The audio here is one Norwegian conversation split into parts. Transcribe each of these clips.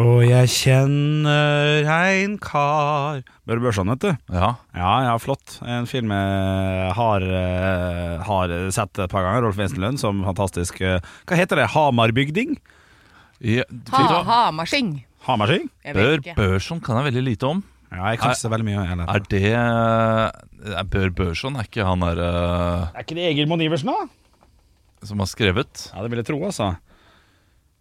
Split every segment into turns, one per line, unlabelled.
Og jeg kjenner ein kar Bør børse han, vet du.
Ja.
Ja, ja, flott. En film jeg har, eh, har sett et par ganger. Rolf Wesenlund som fantastisk eh, Hva heter det? Hamarbygding?
ja.
Ha, Hamarsing.
Hamarsing?
Jeg vet
Bør
ikke.
Børson kan jeg veldig lite om.
Ja, jeg kan ikke så veldig mye. Eller.
Er det eh, er Bør Børson er ikke han der eh,
Er ikke det Egil Monn Iversen, da?
som har skrevet?
Ja, det vil jeg tro, altså.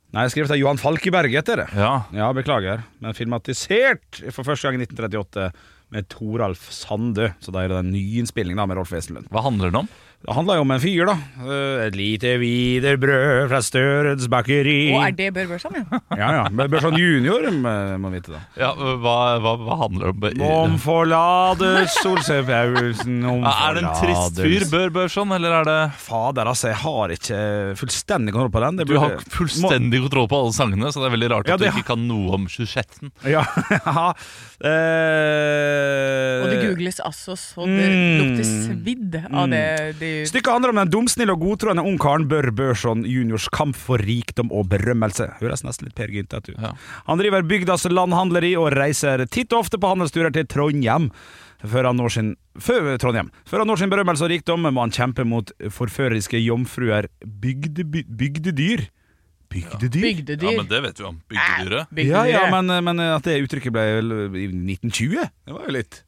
Nei, jeg skrev til Johan Falkeberg etter det.
Ja.
Ja, beklager. Men filmatisert for første gang i 1938 med Toralf Sandø. Så da er det en nyinnspilling da, med Rolf Wesenlund.
Hva handler den om?
Det handler jo om en fyr, da. Eh, Et lite wienerbrød fra Størens bakeri.
Og er det Bør Børsan, ja?
Ja, ja. Men Børson junior um, eh, må må vite det.
Ja, hva, hva, hva handler det
Om
om? Eh,
forlates Solseth Paulsen, om
Er det en trist fyr,
forlates.
Bør Børson, eller er det
Fader, altså. Jeg har ikke fullstendig kontroll på den. Det
Du har
burde-
fullstendig kontroll på alle sangene, så det er veldig rart
Ja,
at du
det-
ikke kan noe om 26.
Må, ja. eh,
Og det googles altså så det
Mm.
lukter svidd av det, det
Stykket handler om den dumsnille og godtroende ungkaren Bør Børson juniors kamp for rikdom og berømmelse. Høres nesten litt Per Gynt ut.
Ja.
Han driver bygdas landhandleri og reiser titt og ofte på handelsturer til Trondheim. Før han, når sin, før, Trondheim. Før han når sin berømmelse og rikdom, må han kjempe mot forføreriske jomfruer, bygde, by- bygdedyr. Bygdedyr?
Ja,
bygdedyr.
men det vet vi om. Bygdedyret.
Bygdedyr.
Ja, ja, men, men at det uttrykket ble vel i 1920, det var jo litt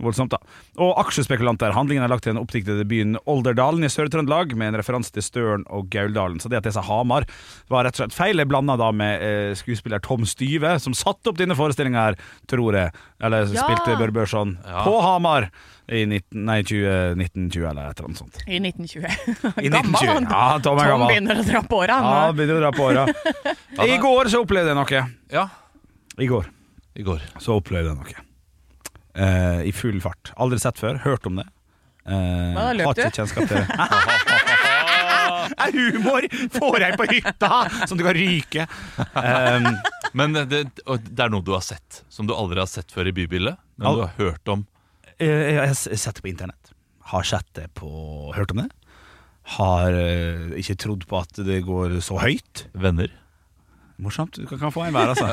voldsomt, da. Og aksjespekulanter. Handlingen er lagt til den oppdiktede byen Olderdalen i Sør-Trøndelag, med en referanse til Støren og Gauldalen. Så det at jeg sa Hamar, var rett og slett feil. Jeg blanda da med eh, skuespiller Tom Styve, som satte opp denne forestillinga her, tror jeg. Eller
Ja.
spilte Bør Børson
Ja.
på Hamar i 19, nei, 20, 1920, eller et eller annet sånt.
I 1920.
I
Gammel
1920.
han.
Ja, Tom er
Tom
gammel.
begynner å dra på åra.
Ja,
han.
begynner å dra på åra. I går så opplevde jeg noe.
Ja,
I går.
i går.
så opplevde jeg noe. Eh, I full fart. Aldri sett før. Hørt om det. Eh,
da løp
har
du?
ikke kjennskap til det. Er humor får jeg på hytta, som du kan ryke. Ehm, Em,
Men det, og det er noe du har sett, som du aldri har sett før i bybildet, men
Al-
du har hørt om.
eh, jeg har s- sett det på internett. Har sett det på Hørt om det. Har eh, ikke trodd på at det går så høyt.
Venner.
Morsomt. Du kan, kan få en hver, altså.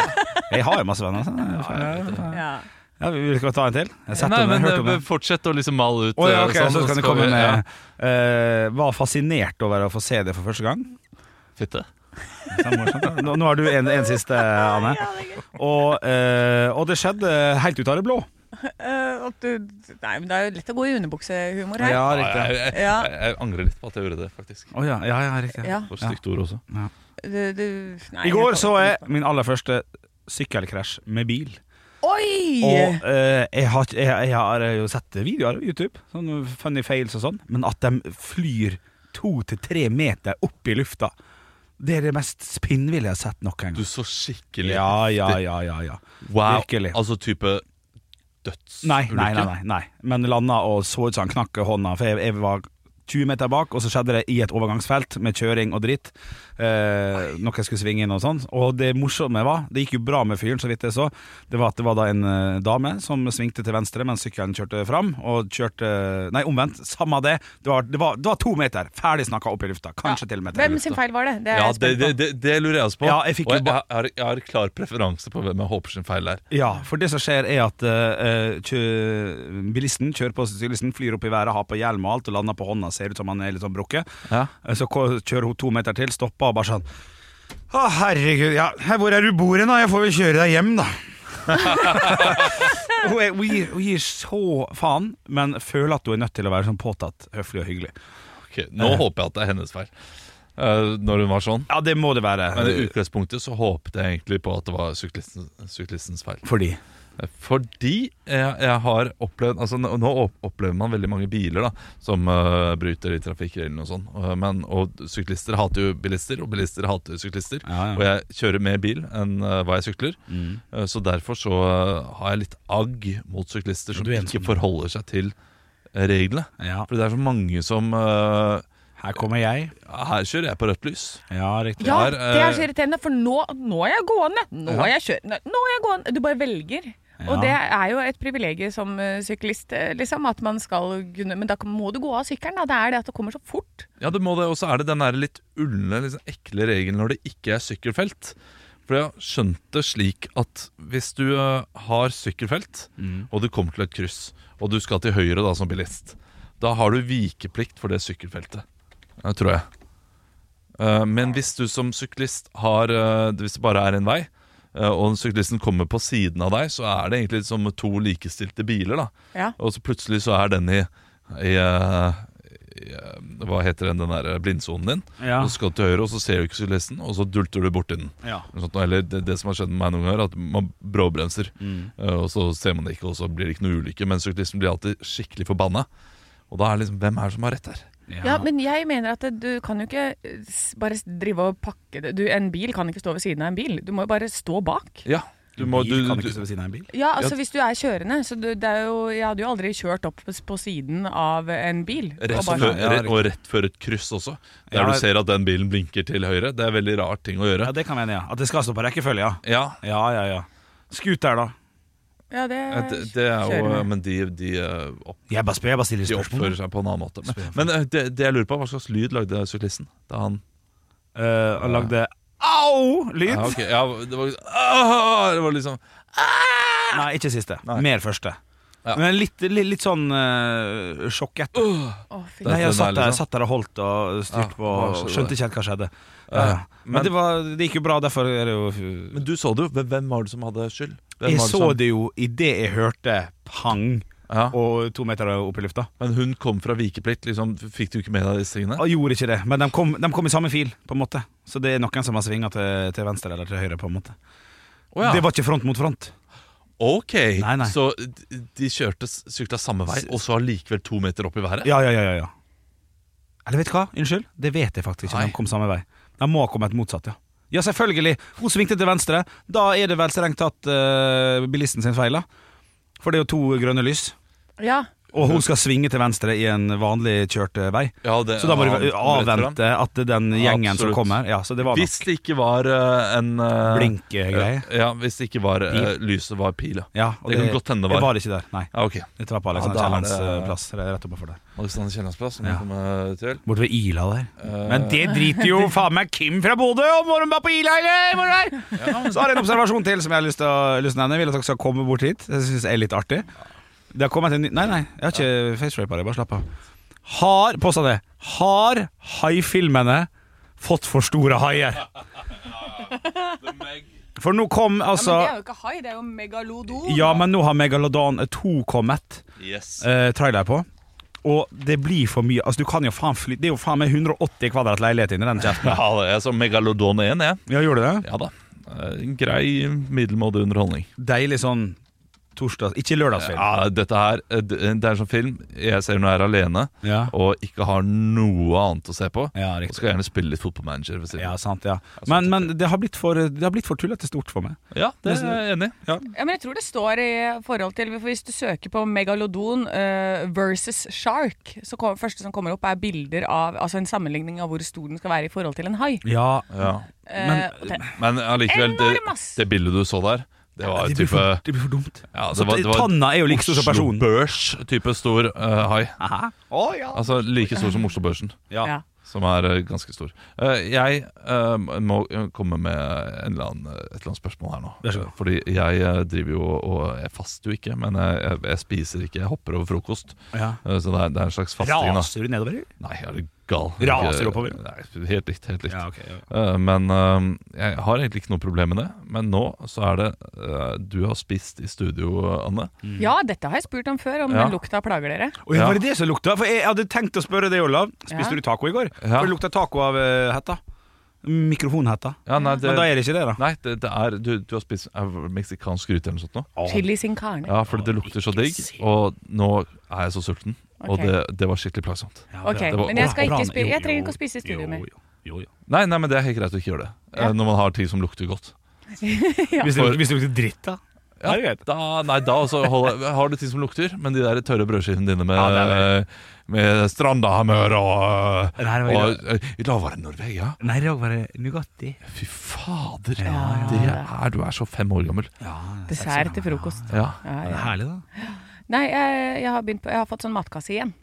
Jeg har jo masse venner. Altså.
Ja.
Ja, vi vil ikke ta en til? Jeg har sett
Nei,
om det,
men
hørt om det.
eh, fortsett å liksom male ut
Å ja,
eh,
ok,
sånn,
så
og
kan det
vi-
komme med
ja.
eh, Var fascinert over å få se det for første gang.
Fitte.
Det er morsomt, da. Nå, nå har du en, en siste, Anne. Og, eh, og det skjedde helt ut av det blå.
Eh, at du, nei, men det er jo lett å gå i underbuksehumor her.
Ja,
Ja,
riktig.
jeg, jeg,
Ja.
jeg, jeg angrer litt på at jeg gjorde det, faktisk.
Å ja, ja, ja, riktig.
Ja.
For stygt ord også.
Du, du, nei,
I går så jeg min aller første sykkelkrasj med bil.
Oi!
Og eh, jeg, har, ikke- jeg, jeg har jo sett videoer på YouTube, sånn funny fails og sånn, men at de flyr to til tre meter opp i lufta, det er det mest spinnville jeg har sett noen gang.
Du så skikkelig
Ja, ja, ja, ja, ja.
Wow.
virkelig.
Altså type dødsulykke?
Nei, nei, nei, nei, nei. Men landa og så ut som han knakk hånda, for jeg, jeg var 20 meter bak, og så skjedde det i et overgangsfelt med kjøring og dritt. Eh, noe jeg skulle svinge inn og sånn. Og det morsomme var, det gikk jo bra med fyren, så vidt jeg så, det var at det var da en eh, dame som svingte til venstre mens sykkelen kjørte fram, og kjørte Nei, omvendt, samme det. Det var, det var, det var to meter, ferdig snakka opp i lufta. Kanskje til og med til
Hvem
lufta.
sin feil var det? Det er
Ja,
jeg
det,
spent på.
det, det, det lurer jeg også på.
Ja, jeg fikk
og
jo
jeg,
ba-
jeg, har, jeg har klar preferanse på hvem jeg håper sin feil er.
Ja, for det som skjer er at eh, kjø, bilisten kjører på syklisten, flyr opp i været, har på hjelm og alt, og lander på hånda, ser ut som han er litt sånn brukket.
Ja.
Eh, Så ko- kjører hun to meter til, stopper og bare sånn Å, herregud, ja, her- hvor er du bor hen, da? Jeg får vel kjøre deg hjem, da. hun, er, hun, gir, hun gir så faen, men føler at hun er nødt til å være sånn påtatt høflig og hyggelig.
Ok, nå håper jeg at det er hennes feil. eh, når hun var sånn.
Ja, det må det være.
Men i utgangspunktet så håpet jeg egentlig på at det var syklisten, syklistens feil.
Fordi
Fordi jeg, jeg har opplevd altså Nå nå opp- opplever man veldig mange biler da som eh, bryter i trafikkreglene og sånn. Eh, men- og syklister hater jo bilister, og bilister hater syklister.
Ja, ja.
Og jeg kjører mer bil enn eh, hva jeg sykler.
mm,
Eh, så derfor så eh, har jeg litt agg mot syklister som
Du er en
ikke
sånn-
forholder seg til eh, reglene.
Ja,
For det er så mange som eh,
her kommer jeg.
Her kjører jeg på rødt lys.
Ja, riktig.
Ja,
er,
det
eh,
er så irriterende, for nå, nå er jeg gående. Nå er jeg kjørende. Nå er jeg gående. Du bare velger.
Ja.
Og det er jo et privilegium som eh, syklist, eh, liksom, at man skal kunne Men da må du gå av sykkelen, da. Det er det at det kommer så fort.
Ja, det må det. Og så er det den der litt ulne, liksom ekle regelen når det ikke er sykkelfelt. For jeg har skjønt det slik at hvis du eh, har sykkelfelt, og du kommer til et kryss, og du skal til høyre da som bilist, da har du vikeplikt for det sykkelfeltet, eh, tror jeg. Eh, Men hvis du som syklist har eh, Hvis det bare er en vei, eh, og syklisten kommer på siden av deg, så er det egentlig som to likestilte biler, da.
Ja.
Og så plutselig så er den i, i, eh, i eh, Hva heter den, den der eh, blindsonen din?
Ja.
Og så skal du til høyre, og så ser du ikke syklisten, og så dulter du borti den.
Ja.
Eller sånt, Eller det, det som har skjedd med meg noen ganger, at man bråbremser. eh, Og så ser man det ikke, og så blir det ikke noe ulykke. Men syklisten blir alltid skikkelig forbanna. Og da er det liksom Hvem er det som har rett her?
Ja, men jeg mener at du kan jo ikke eh, s- bare s- drive og pakke det du, En bil kan ikke stå ved siden av en bil. Du må jo bare stå bak.
Ja, du må, du,
bil kan
du,
ikke stå ved siden av en bil.
Ja, altså hvis du er kjørende, så du, det er jo Jeg hadde jo aldri kjørt opp på siden av en bil.
Rett
og bare-
før,
Ja,
rett, og rett før et kryss også. Der
Ja.
du ser at den bilen blinker til høyre. Det er veldig rar ting å
Ja,
gjøre.
det kan vi enig i. ja. At det skal stå på rekkefølge, ja.
Ja,
Ja, ja, ja. Scooter, da.
Ja, det,
det, det er jo um,
kjører med.
Men de, de, eh, opp,
Jeg bare spør, jeg bare stiller
de oppfører
spørsmål.
seg på en annen måte. Men, men eh, det, det jeg lurer på, hva slags lyd lagde syklisten? Da han
Eh, og lagde au-lyd.
ja, ok, ja, Det var liksom «Ah!» Det var liksom
Nei, ikke siste.
Nei.
Mer første.
Ja.
Men litt, litt, litt sånn uh, sjokkete.
Å, fy
Nei, altså, jeg satt
den der,
der,
liksom.
satt der og holdt og
Ja,
styrt på
hva
og
skjedde?
skjønte ikke helt hva skjedde. Ja, ja. Men,
men-
det, var, det gikk jo bra, derfor er det jo
Men du så det sånn- jo. Hvem- Hvem var det som hadde skyld? Hvem
Jeg
var
så
som-
det jo idet jeg hørte pang
Ja.
og to meter opp i lufta.
Men hun kom fra vikeplikt. Liksom, fikk du ikke med deg disse tingene?
Og gjorde ikke det, men de kom, de kom i samme fil, på en måte. Så det er noen som har svinga til, til venstre eller til høyre, på en måte.
Å, ja.
Det var ikke front mot front.
Ok,
Nei, nei.
så d- de kjørte s- sykla samme vei, og så allikevel to meter opp i været?
Ja, ja, ja, ja, ja. Eller vet du hva? Unnskyld, det vet jeg faktisk ikke.
Nei.
De kom samme vei. De må ha kommet motsatt, ja. Ja, selvfølgelig. Hun svingte til venstre. Da er det vel strengt tatt eh, bilisten sin feil, da. For det er jo to grønne lys.
faen. Ja.
Og hun skal svinge til venstre i en vanlig kjørt eh, vei.
Ja, det-
Så da må du
ja, han-
avvente at den gjengen som
Absolutt.
kommer Ja, så det var nok
Hvis det ikke var eh, en eh,
blinkegreie.
eh, Ja, hvis det ikke var eh, lyset var pila.
Ja, og
det kan godt hende det
Jeg
var.
var ikke der, nei.
Ja, ok.
Dette var på Alexander
Ja, da er
Kiellands
det-
eh, plass, re- rett oppover der.
Alexander Kiellands plass, som vi
Ja.
kommer eh, til.
Borte ved Ila der.
Eh,
Men det driter jo faen meg Kim fra Bodø om når hun var på Ila eller hvor hun er! Så har jeg en observasjon til som jeg har lyst til å, lyst til å nevne. Jeg vil at dere skal komme bort hit. Jeg synes det er litt artig. Det har kommet en ny Nei, nei, jeg har ikke facerapa det. Bare slapp av. Har Påstand det. Har haifilmene fått for store haier? For nå kom altså
men det er jo ikke hai, det er jo megalodon.
Ja, men nå har Megalodon 2 kommet
Yes.
eh, trailer på. Og det blir for mye. Altså, du kan jo faen fly Det er jo faen meg 180 kvadrat leilighet inni den kjeften.
Ja, det- jeg så Megalodon 1, jeg.
Ja, gjorde du det?
Ja da. Eh, En grei, middelmådig underholdning.
Deilig sånn torsdags... Ikke lørdagsfilm.
Ja, dette her, eh, d- det er en sånn film jeg ser når jeg er alene
Ja.
og ikke har noe annet å se på.
Ja,
Og
riktig.
skal gjerne spille litt fotballmanager ved siden
Ja, sant, ja. Men, men det har blitt for, det har blitt for tullete stort for meg.
Ja, det er jeg enig i.
Ja, men jeg tror det står i forhold til for Hvis du søker på megalodon eh, versus shark, så kom, første som kommer opp, er bilder av Altså en sammenligning av hvor stor den skal være i forhold til en hai.
Ja,
Ja.
Eh, og det-
Men allikevel, det,
Enorm, ass!
det bildet du så der, det var
det, blir
jo type
for, det blir for dumt.
ja, det
Så
var, det var
Tanna er jo like stor som
Oslo
personen.
Børs-type stor eh, hai.
Hæ? ja.
Altså like stor som Oslo-børsen,
ja.
som er eh, ganske stor. Eh, jeg eh, må komme med en eller annen, eh, et eller annet spørsmål her nå.
Vær så god.
Fordi jeg eh, driver jo og Jeg faster jo ikke, men jeg, jeg, jeg spiser ikke. Jeg hopper over frokost.
Ja.
Eh, så det er, det er en slags fasting. da.
Raser du nedover?
Nei, er du gal.
Raser oppover.
Nei, helt likt. helt likt
Ja, ok, ja.
Eh, Men eh, jeg har egentlig ikke noe problem med det. Men nå så er det eh, du har spist i studio, Anne.
Mm.
Ja, dette har jeg spurt om før, om
Ja.
lukta plager dere.
Oi, var det det som lukta? For jeg hadde tenkt å spørre deg, Olav. Spiste
Ja.
du taco i går?
Ja.
For det lukta taco av eh, hetta. Mikrofonhetta.
Ja, nei, det,
Men da er det ikke det, da.
nei, det, det er du, du har spist eh, meksikansk gryte eller noe sånt nå.
Chili sin carne.
Ja, fordi det lukter så digg. Og nå er jeg så sulten. Og
Ok.
det, det var skikkelig plagsomt.
Ok,
det var-
men jeg skal
Bra,
ikke
bra,
spise
jo,
Jeg trenger
jo,
ikke å spise i studio
jo,
mer.
jo, jo, jo.
Nei, nei, men det er helt greit å ikke gjøre det. eh, Når man har ting som lukter godt.
Hvis det hvis det lukter dritt, da. Ja, det er greit.
Da, nei, da også holder, har du ting som lukter, men de der tørre brødskivene dine med,
Ja, det er
med strandahamør og,
Nei, det var
og eh, I dag var det Norvegia.
Nei, i dag var det Nugatti.
Fy fader!
Ja,
det er, du er så fem år gammel.
Dessert til frokost.
Ja.
Ja,
Det er
ja.
herlig, da.
Nei, jeg, jeg, har begynt på, jeg har fått sånn matkasse igjen.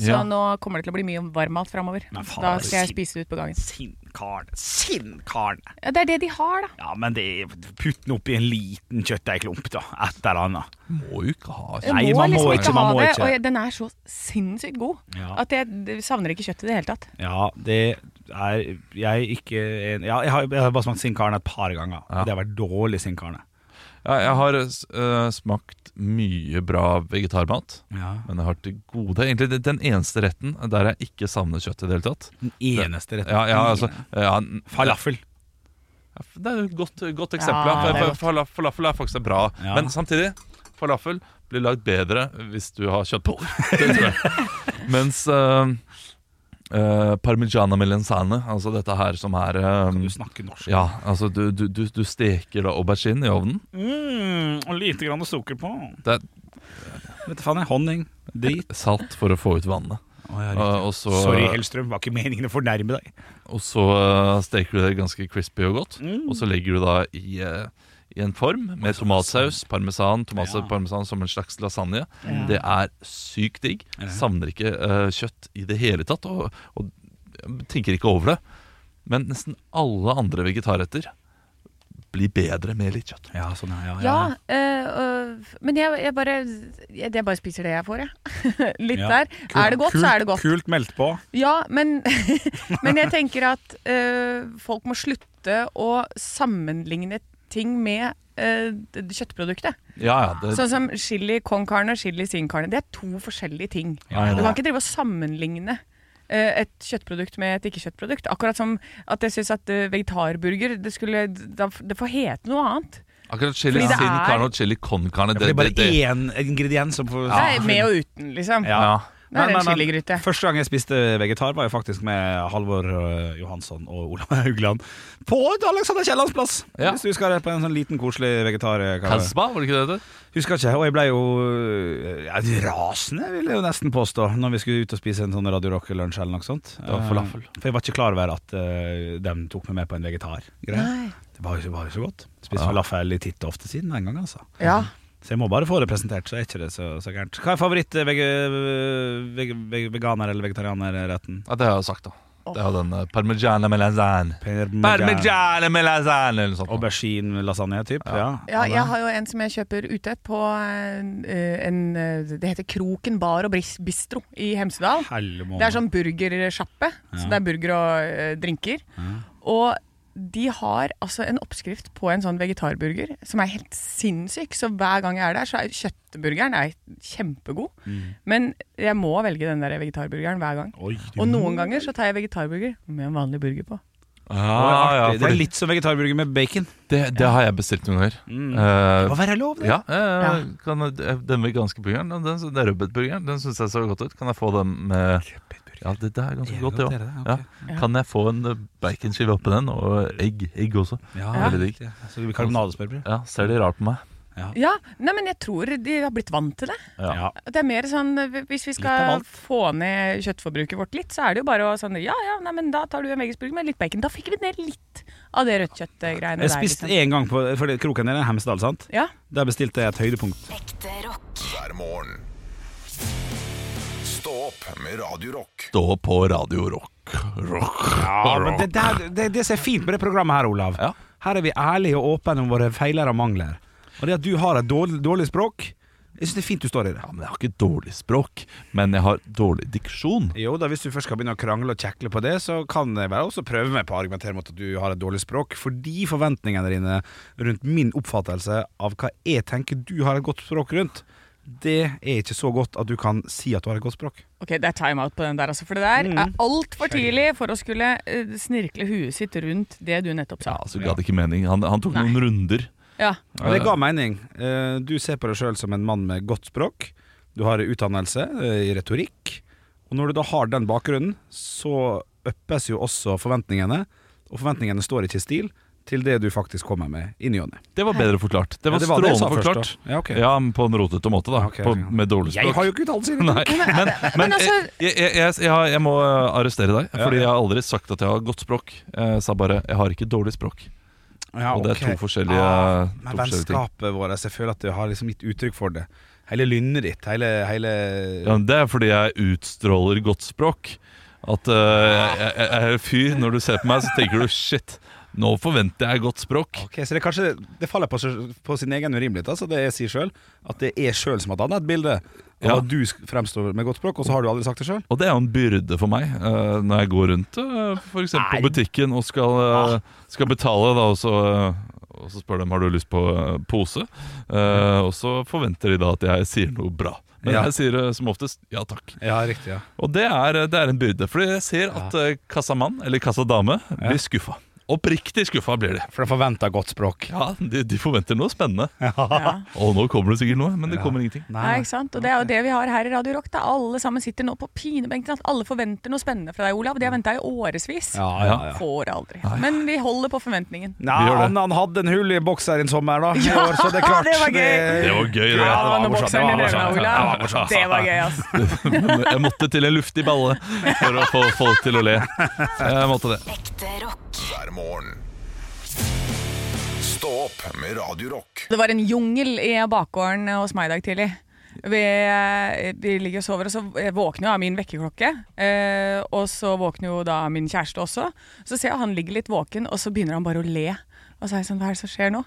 Så
Ja.
nå kommer det til å bli mye varmmat framover.
Men faen,
Da
det er
skal jeg
sykt.
spise det ut på gangen.
Sinn karn. Sinn karn.
Ja, det er det de har, da.
Ja, men det er putt den oppi en liten kjøttdeigklump, da. Et eller annet.
Må jo ikke ha sånn.
Jeg
Nei, man må ikke, man må
liksom det.
ikke.
Og jeg, den er så sinnssykt god
Ja.
at jeg d- savner ikke kjøttet i det hele tatt.
Ja, det er jeg ikke en, ja, jeg, har, jeg har bare smakt Sinn karn et par ganger.
Ja.
Det har vært dårlig Sinn karn.
ja, Jeg har eh, smakt mye bra vegetarmat,
Ja.
men jeg har til gode Egentlig det- den eneste retten der jeg ikke savner kjøtt i det hele tatt.
Den eneste retten.
Ja, ja, altså, ja,
Falafel.
Det er jo et godt, godt eksempel.
Ja,
ja,
det
for,
er
for, fala- falafel er faktisk bra.
Ja.
Men samtidig, falafel blir lagd bedre hvis du har kjøtt på. Det tror jeg. Mens uh, parmigiana melenzane, altså dette her som er eh,
Du snakker norsk.
Ja, altså du, du, du, du steker da aubergine i ovnen.
Mm, og lite grann sukker på.
Det er
Vet du faen, jeg. Honning. Drit.
salt for å få ut vannet. Eh, og så,
Sorry, Hellstrøm. Var ikke meningen å fornærme deg.
og så eh, steker du det ganske crispy og godt. Og så legger du da i, eh, i en form med tomatsaus, parmesan, tomatsaus,
Ja.
parmesan som en slags lasagne. Det er sykt digg.
Ja.
Savner ikke eh, kjøtt i det hele tatt, og, og eh, tenker ikke over det. Men nesten alle andre vegetarretter blir bedre med litt kjøtt.
Ja, sånn, ja, ja,
Ja, øh, øh, men jeg, jeg bare jeg, jeg bare spiser det jeg får, jeg. Litt
Ja.
der. er det godt, så er det godt.
Kult meldt på.
Ja, men, men jeg tenker at øh, folk må slutte å sammenligne ting med øh, d- kjøttproduktet.
Ja, ja, det,
Sånn som chili con carne og chili sin carne. Det er to forskjellige ting.
Ja, ja,
Du
det-
kan ikke drive og sammenligne eh, et kjøttprodukt med et ikke-kjøttprodukt. Akkurat som at jeg syns at eh, vegetarburger det, skulle, da f- det får hete noe annet.
akkurat chili
Fordi det
sin
er-
carne og chili con carne
Det,
det,
er
det,
bare
det,
én ingrediens som får
Det er med og uten, liksom.
Ja.
ja.
Det er
Men-
en
men- men
chiligryte.
Første gang jeg spiste vegetar, var jo faktisk med Halvor øh, Johansson og Olav Haugland på Alexander Kiellands plass.
Ja.
Hvis du husker det, på en sånn liten, koselig vegetar... eh,
Kasba, var det ikke det det het?
Husker ikke, og jeg ble jo øh, ja, rasende, vil jeg jo nesten påstå, når vi skulle ut og spise en sånn Radio Rock-lunsj eller noe sånt.
Det var
Eh,
falafel.
For jeg var ikke klar over at øh, de tok meg med på en vegetargreie. Det var jo, det var jo så godt. Spist
Ja.
falafel i titt og ofte siden den gang, altså.
Ja.
Så jeg må bare få det presentert, så er ikke det så, så gærent. Hva er eh, favoritt-veganer- eller vegetarianerretten?
Ja, det har jeg jo sagt, da. Det er jo den eh, parmigiana melanzane.
Parmesan.
Parmigiana melanzane eller noe sånt.
Aubergine lasagne, typ? Ja.
ja, jeg har jo en som jeg kjøper ute på eh, en eh, Det heter Kroken bar og bris- bistro i Hemsedal. Det er sånn burgersjappe. Så det er burger og eh, drinker. Og de har altså en oppskrift på en sånn vegetarburger som er helt sinnssyk. Så hver gang jeg er der, så er kjøttburgeren er kjempegod. Men jeg må velge den der vegetarburgeren hver gang.
Oi, du-
Og noen ganger så tar jeg vegetarburger med en vanlig burger på.
Ah, ja,
det er
fordi
litt som vegetarburger med bacon.
det, det har jeg bestilt noen ganger. Eh,
Hva være lov, Mm. det?
Ja, eh, Kan, den veganske burgeren, den, den, den rødbetburgeren, den syns jeg så godt ut. Kan jeg få den med Ja, det, det er ganske
Det er
godt,
godt,
det òg.
det er det,
Ja. Kan jeg få en eh, baconskive oppi den, og egg, egg også?
Ja,
Veldig digg.
Så det blir karbonadesmørbrød.
Ja, Ser de rart på meg?
Ja, nei, men jeg tror de har blitt vant til det.
Ja.
Det er mer sånn, Hvis vi
Litt av
skal
alt.
få ned kjøttforbruket vårt litt, så er det jo bare å sånn Ja ja, nei, men da tar du en veggisburger med litt bacon. Da fikk vi ned litt av det rødt kjøtt-greiene
Jeg
der.
spiste
Liksom.
en gang på for det- Kroken er i Hemsedal, sant?
Ja.
Der bestilte jeg et høydepunkt.
hver morgen. Stå opp med Radio Rock.
Stå på Radio Rock. Rock.
Ja, men det, det, er- det, det som er fint med det programmet her, Olav
Ja.
Her er vi ærlige og åpne om våre feiler og mangler Og det at du har et dårlig, dårlig språk Jeg syns det er fint du står i det.
Ja, men Jeg har ikke dårlig språk, men jeg har dårlig diksjon.
Jo da, hvis du først skal begynne å krangle og kjekle på det, så kan jeg vel også prøve meg på å argumentere mot at du har et dårlig språk, fordi forventningene dine rundt min oppfattelse av hva jeg tenker du har et godt språk rundt, det er ikke så godt at du kan si at du har et godt språk.
Ok, Det er timeout på den der, altså. For det der
Mm.
er altfor tidlig for å skulle eh, snirkle huet sitt rundt det du nettopp
Ja,
sa.
altså, ga det ikke mening. Han, han tok
Nei.
noen runder.
Ja.
Og det ga mening. Eh, Du ser på deg sjøl som en mann med godt språk. Du har utdannelse eh, i retorikk. Og når du da har den bakgrunnen, så øppes jo også forventningene. Og forventningene står ikke i stil til det du faktisk kommer med i ny og ne.
Det var bedre forklart. Det var
Ja, det var det jeg
strålende
sa
forklart.
først, da. Ja, ok.
ja, men på en rotete måte, da.
Ok,
på,
ja.
med dårlig språk.
Jeg har jo ikke uttalelse! i det.
Nei, men, men jeg,
altså-
jeg, jeg, jeg, har- jeg må eh, arrestere deg,
Ja,
fordi
ja.
jeg har aldri sagt at jeg har godt språk. Jeg sa bare 'jeg har ikke dårlig språk'.
Ja,
Og det er
ok. Ah,
to forskjellige- to
men
forskjellige ting.
vennskapet vårt, jeg føler at du har liksom gitt uttrykk for det. Hele lynnet ditt, hele, hele
Ja, men det er fordi jeg utstråler godt språk. At eh, jeg, jeg, jeg er en fyr Når du ser på meg, så tenker du 'shit, nå forventer jeg godt språk'.
Ok, Så det, er kanskje, det faller på, seg- på sin egen urimelighet, altså det jeg sier sjøl. At det er sjøl som har dannet et bilde. Og
Ja.
at du sk- fremstår med godt språk, og så har du aldri sagt det sjøl.
Og det er jo en byrde for meg eh, når jeg går rundt eh, for f.eks. på butikken og skal, eh, skal betale, da, og så, eh, og så spør de har du lyst på eh, pose. Eh, og så forventer de da at jeg sier noe bra. Men
Ja.
jeg sier eh, som oftest ja takk.
Ja, riktig. ja
Og det er, eh, det er en byrde, for jeg ser at eh, kassamann eller kassadame blir skuffa. Oppriktig skuffa blir de.
For de forventer godt språk.
Ja, de, de forventer noe spennende. Og nå kommer det sikkert noe, men det kommer ingenting.
Ja, ikke sant? Og det er jo det vi har her i Radio Rock. Da. Alle sammen sitter nå på pinebenken. At alle forventer noe spennende fra deg, Olav. Det har venta i årevis.
Mm. Ja, ja, ja.
Får aldri. Men vi holder på forventningen.
Nei,
Vi gjør det.
han, han hadde en hull i bokser en sommer, da. i år, så det er klart.
det var gøy.
Det var gøy, det.
Ja, det var
var
når
morsomt, det
bokseren
var
din rømma,
morsomt, det var
Olav.
morsomt.
Det var gøy, altså.
Men jeg måtte til en luftig balle for å få folk til å le. Jeg måtte det.
hver morgen. Stå opp med Radio Rock.
Det var en jungel i bakgården hos meg i dag tidlig. Vi, eh, vi ligger og sover, og så våkner jeg av min vekkerklokke. Eh, og så våkner jo da min kjæreste også. Så ser jeg han ligger litt våken, og så begynner han bare å le. Og så er jeg sånn, hva er det som skjer nå?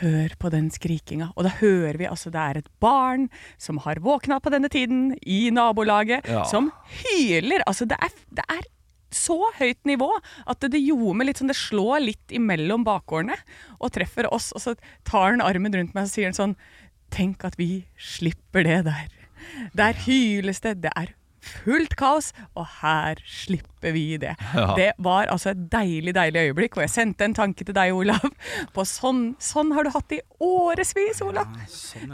Hør på den skrikinga. Og da hører vi altså det er et barn som har våkna på denne tiden, i nabolaget, som hyler. Altså det er, det er så høyt nivå at det, det gjorde meg litt sånn Det slår litt imellom bakgårdene og treffer oss. Og så tar han armen rundt meg og sier han sånn Tenk at vi slipper det der. Der hyles det. Det er fullt kaos, og her slipper vi det. Det var altså et deilig, deilig øyeblikk, og jeg sendte en tanke til deg, Olav. På sånn, sånn har du hatt det i årevis, Olav.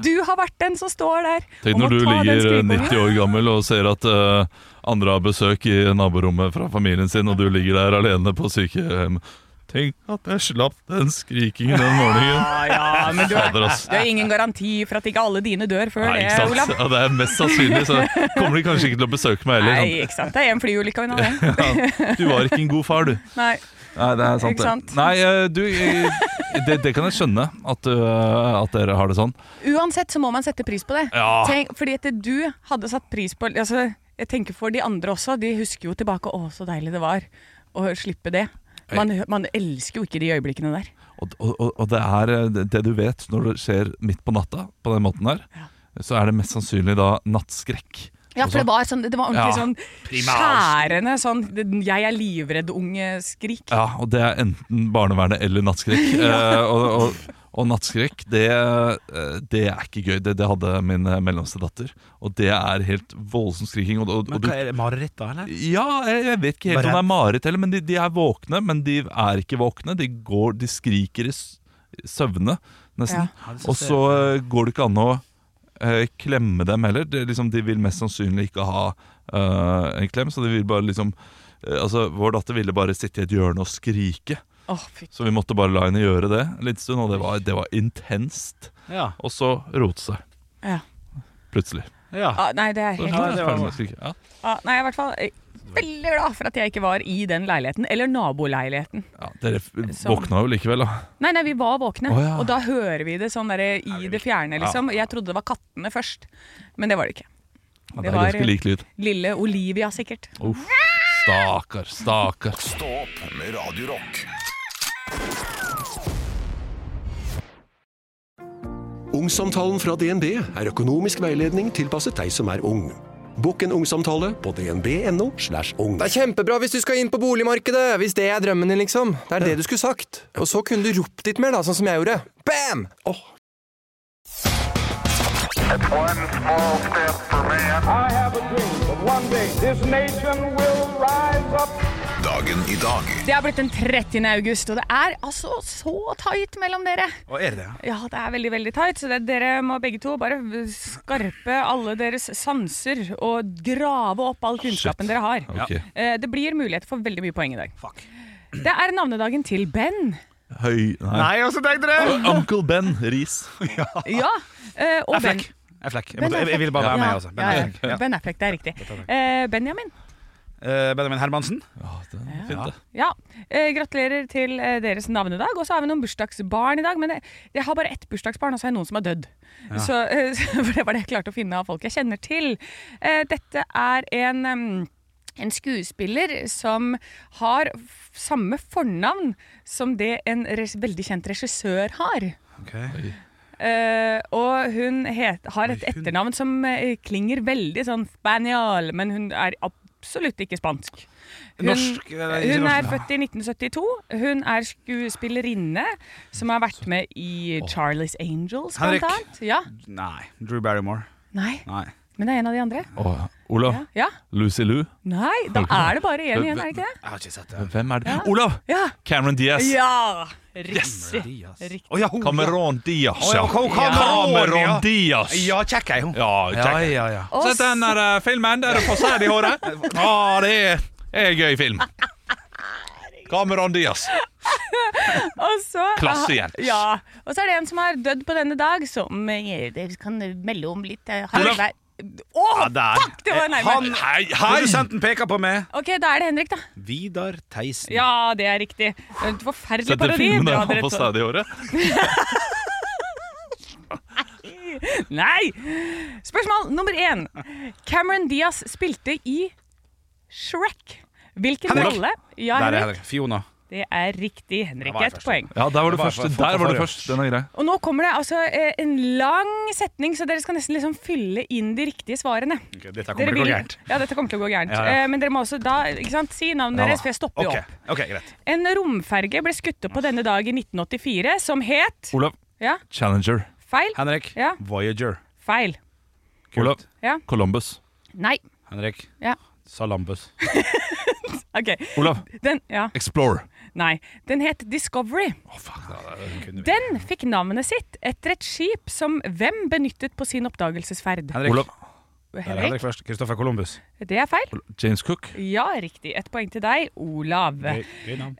Du har vært den som står der.
Tenk
og må
når du
ta den
ligger eh,
skrikeungen.
90 år gammel og ser at eh, andre har besøk i naborommet fra familien sin, og du ligger der alene på sykehjem. Tenk at jeg slapp den skrikingen den morgenen.
Ja, ja, men du er,
Fader, ass.
det er ingen garanti for at ikke alle dine dør før
Nei,
det,
ikke sant?
Olav.
Ja, det er mest sannsynlig, så kommer de kanskje ikke til å besøke meg
Nei,
heller.
ikke sant. Det er en flyulykke unna det.
Sånn. Ja, du var ikke en god far, du.
Nei.
Nei, det er sant,
Ikke sant?
det. Nei, eh, du, eh, det, det kan jeg skjønne, at, eh, at dere har det sånn.
Uansett så må man sette pris på det.
Ja.
Tenk, fordi at du hadde satt pris på altså, Jeg tenker for de andre også. De husker jo tilbake Å, så deilig det var å slippe det. Man, man elsker jo ikke de øyeblikkene der.
Og, og, og- og det er eh, det- det du vet når det skjer midt på natta på den måten der, så er det mest sannsynlig da nattskrekk.
Ja,
Og
for
så-
det var, sånn, det var ordentlig
Ja.
sånn skjærende sånn 'jeg er livredd-unge-skrik'.
Ja, og det er enten barnevernet eller nattskrekk. Eh, og, og, og nattskrekk, det, eh, det er ikke gøy. Det, det hadde min eh, mellomste datter. Og det er helt voldsom skriking. Og, og, og
Men
du,
hva er det, mareritt, da? eller?
ja, jeg, jeg vet ikke helt om det er mareritt heller, men de, de er våkne. Men de er ikke våkne. De, går, de skriker i s- søvne, nesten.
Ja.
Og så eh, går det ikke an å eh, klemme dem heller. Det, er liksom, de vil mest sannsynlig ikke ha eh, en klem, så de vil bare liksom eh, Altså, Vår datter ville bare sitte i et hjørne og skrike,
Å, fy
så vi måtte bare la henne gjøre det en liten stund. Og det var, det var intenst.
Ja.
Og så rote seg,
ja.
plutselig.
ja.
ah, Nei, det er helt
Ja, Sånn det var-
Ferdig med å skrike. Ja.
Ja, nei, jeg er i hvert fall eh, veldig glad for at jeg ikke var i den leiligheten, eller naboleiligheten.
Ja, dere f-
Som-
våkna jo likevel, da.
Nei, nei, vi var våkne,
Å, ja.
og da hører vi det sånn derre i det fjerne, liksom. Jeg trodde det var kattene først, men det var det ikke.
Ja,
Det
det er
var-
ganske lik lyd.
Lille Olivia, sikkert.
Uff. Stakkar, stakkar.
Stå opp med Radio Rock.
Ungsamtalen fra DNB er økonomisk veiledning tilpasset deg som er ung. Bokk en ungsamtale på dnb.no. slash ung.
Det er kjempebra hvis du skal inn på boligmarkedet, hvis det er drømmen din, liksom. Det er det du skulle sagt. Og så kunne du ropt litt mer, da, sånn som jeg gjorde. Bam! Åh,
I have a dream that one day this nation will rise up.
Dagen i dag.
Det har blitt den 30. august, og det er altså så tight mellom dere.
Og er det det?
Ja, det er veldig, veldig tight, så det, dere må begge to bare skarpe alle deres sanser og grave opp all kunnskapen dere har.
Ok.
Eh, Det blir muligheter for veldig mye poeng i dag. Det er navnedagen til Ben.
Høy Nei.
Nei, også tenkte dere!
Uncle Ben Riis.
Ja, eh, og Ben.
Affleck. Affleck. Jeg, måtte, jeg, jeg ville bare være med, altså. Ben
ja, ja.
Affleck. Ja.
Ben Affleck, det er riktig. Eh, Benjamin.
Eh, Benjamin Hermansen.
Fint, det.
Ja, eh, Gratulerer til eh, deres navnedag. Og så har vi noen bursdagsbarn i dag. Men jeg, jeg har bare ett bursdagsbarn, og så er det noen som er dødd. Så, eh, for det var det jeg klarte å finne av folk jeg kjenner til. Eh, dette er en em, en skuespiller som har f samme fornavn som det en res veldig kjent regissør har. Eh, og hun het, har et etternavn som eh, klinger veldig sånn spanjol, men hun er absolutt ikke spansk. Hun,
Norsk, eh, eller ikke
hun
norsk,
er
da.
født i 1972. Hun er skuespillerinne som har vært med i Charlies Angels,
Henrik.
blant annet. Ja.
Nei. Drew Barrymore.
Nei,
Nei.
men det er en av de andre.
Åh, Olav.
Ja.
Lucy Lou.
Nei, da er det bare én igjen, er det ikke det?
Jeg har ikke sett det.
Hvem er det? Olav!
Ja!
Cameron Diaz.
ja. Riktig.
Riktig.
Riktig.
Oh, ja, hun,
Cameron Diaz.
Å, ja, Ka- Cameron, ja.
Cameron Diaz.
Ja, kjekk er hun.
Ja,
Ja,
check.
ja, ja.
Og
Sett den der eh, filmen der du får sæd i håret. Ja, det er, er en gøy film. Cameron Diaz.
Og så,
Klassehjelp.
Ja, og så er det en som har dødd på denne dag, som eh, dere kan melde om litt. eh, har
Olav.
vært- Å,
der.
fuck! Det var
Eh,
nærmere.
Hei, hei!
Produsenten peker på meg.
Ok, da er det Henrik, da.
Vidar Theisen.
Ja, det er riktig. En forferdelig
Sett den
parodi.
filmen
Bra
der
dere
han får
to-
sæd i håret.
Nei! Spørsmål nummer én. Cameron Diaz spilte i Shrek. Hvilken
Henrik.
rolle Ja,
Der er
Henrik.
Henrik. Fiona.
Det er riktig, Henrik.
Det var jeg
Et
først.
poeng.
Ja, der var du
var-
først.
for- for-
Der var
for-
du først. Den er grei.
Og nå kommer det altså eh, en lang setning, så dere skal nesten liksom fylle inn de riktige svarene.
Ok, dette
Dere
kommer til å gå
vil-
gærent.
Ja, dette kommer til å gå gærent.
Ja, ja.
Eh, Men dere må også da ikke sant, si navnet
Ja,
deres,
da.
for jeg stopper jo
Ok,
opp.
ok, greit.
En romferge ble skutt opp på denne dag i 1984 som het
Olav.
Ja,
Challenger.
feil.
Henrik.
Ja.
Voyager.
Feil.
Olav.
Ja.
Columbus.
Nei.
Henrik.
Ja.
Salambus.
OK.
Olav.
Den Ja,
Explorer.
nei. Den het Discovery. Den fikk navnet sitt etter et skip som hvem benyttet på sin oppdagelsesferd?
Henrik.
Olav.
Der er Henrik
Henrik.
først. Kristoffer Columbus.
Det er feil.
James Cook.
Ja, riktig. Et poeng til deg, Olav.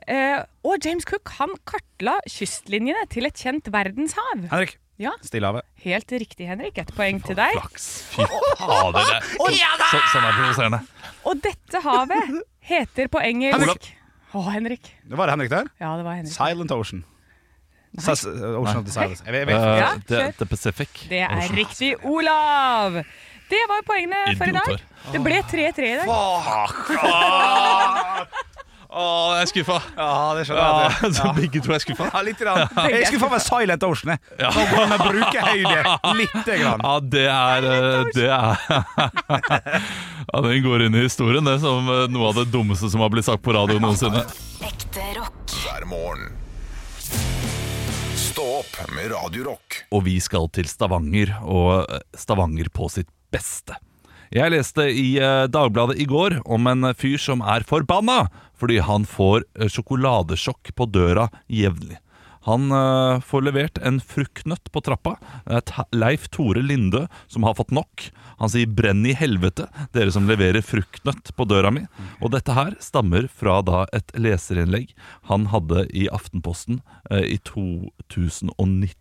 Eh, og James Cook han kartla kystlinjene til et kjent verdenshav.
Henrik.
Ja.
Stillehavet.
Helt riktig, Henrik. Et poeng til deg.
Flaks. Fy fader. det er- Så- Sånn er det provoserende.
Og dette havet heter på engelsk Å, Henrik.
Det var det Henrik der.
Ja, det var Henrik.
Silent Ocean. Sas- Ocean of the Silence. Jeg, jeg vet.
Eh,
Ja,
The,
kjør.
the Pacific.
Det er riktig, Olav! Det var poengene for i dag.
Idioter.
Det ble 3-3 i dag.
Å, jeg er skuffa.
Ja, det
Ja,
skjønner jeg.
Ah, så begge to er skuffa.
Ja, litt grann. Jeg skulle faen meg Silent Ocean, jeg. Nå går vi bruke høyde lite grann.
Ja, det er eh, Det er Ja, den går inn i historien, det, som eh, noe av det dummeste som har blitt sagt på radio noensinne.
hver morgen. Stå opp med Radio Rock.
og vi skal til Stavanger, og eh, Stavanger på sitt beste. Jeg leste i eh, Dagbladet i går om en fyr som er forbanna fordi han får eh, sjokoladesjokk på døra jevnlig. Han eh, får levert en fruktnøtt på trappa. Det er Ta- Leif Tore Lindø som har fått nok. Han sier 'brenn i helvete', dere som leverer fruktnøtt på døra mi. Og dette her stammer fra da et leserinnlegg han hadde i Aftenposten eh, i 2019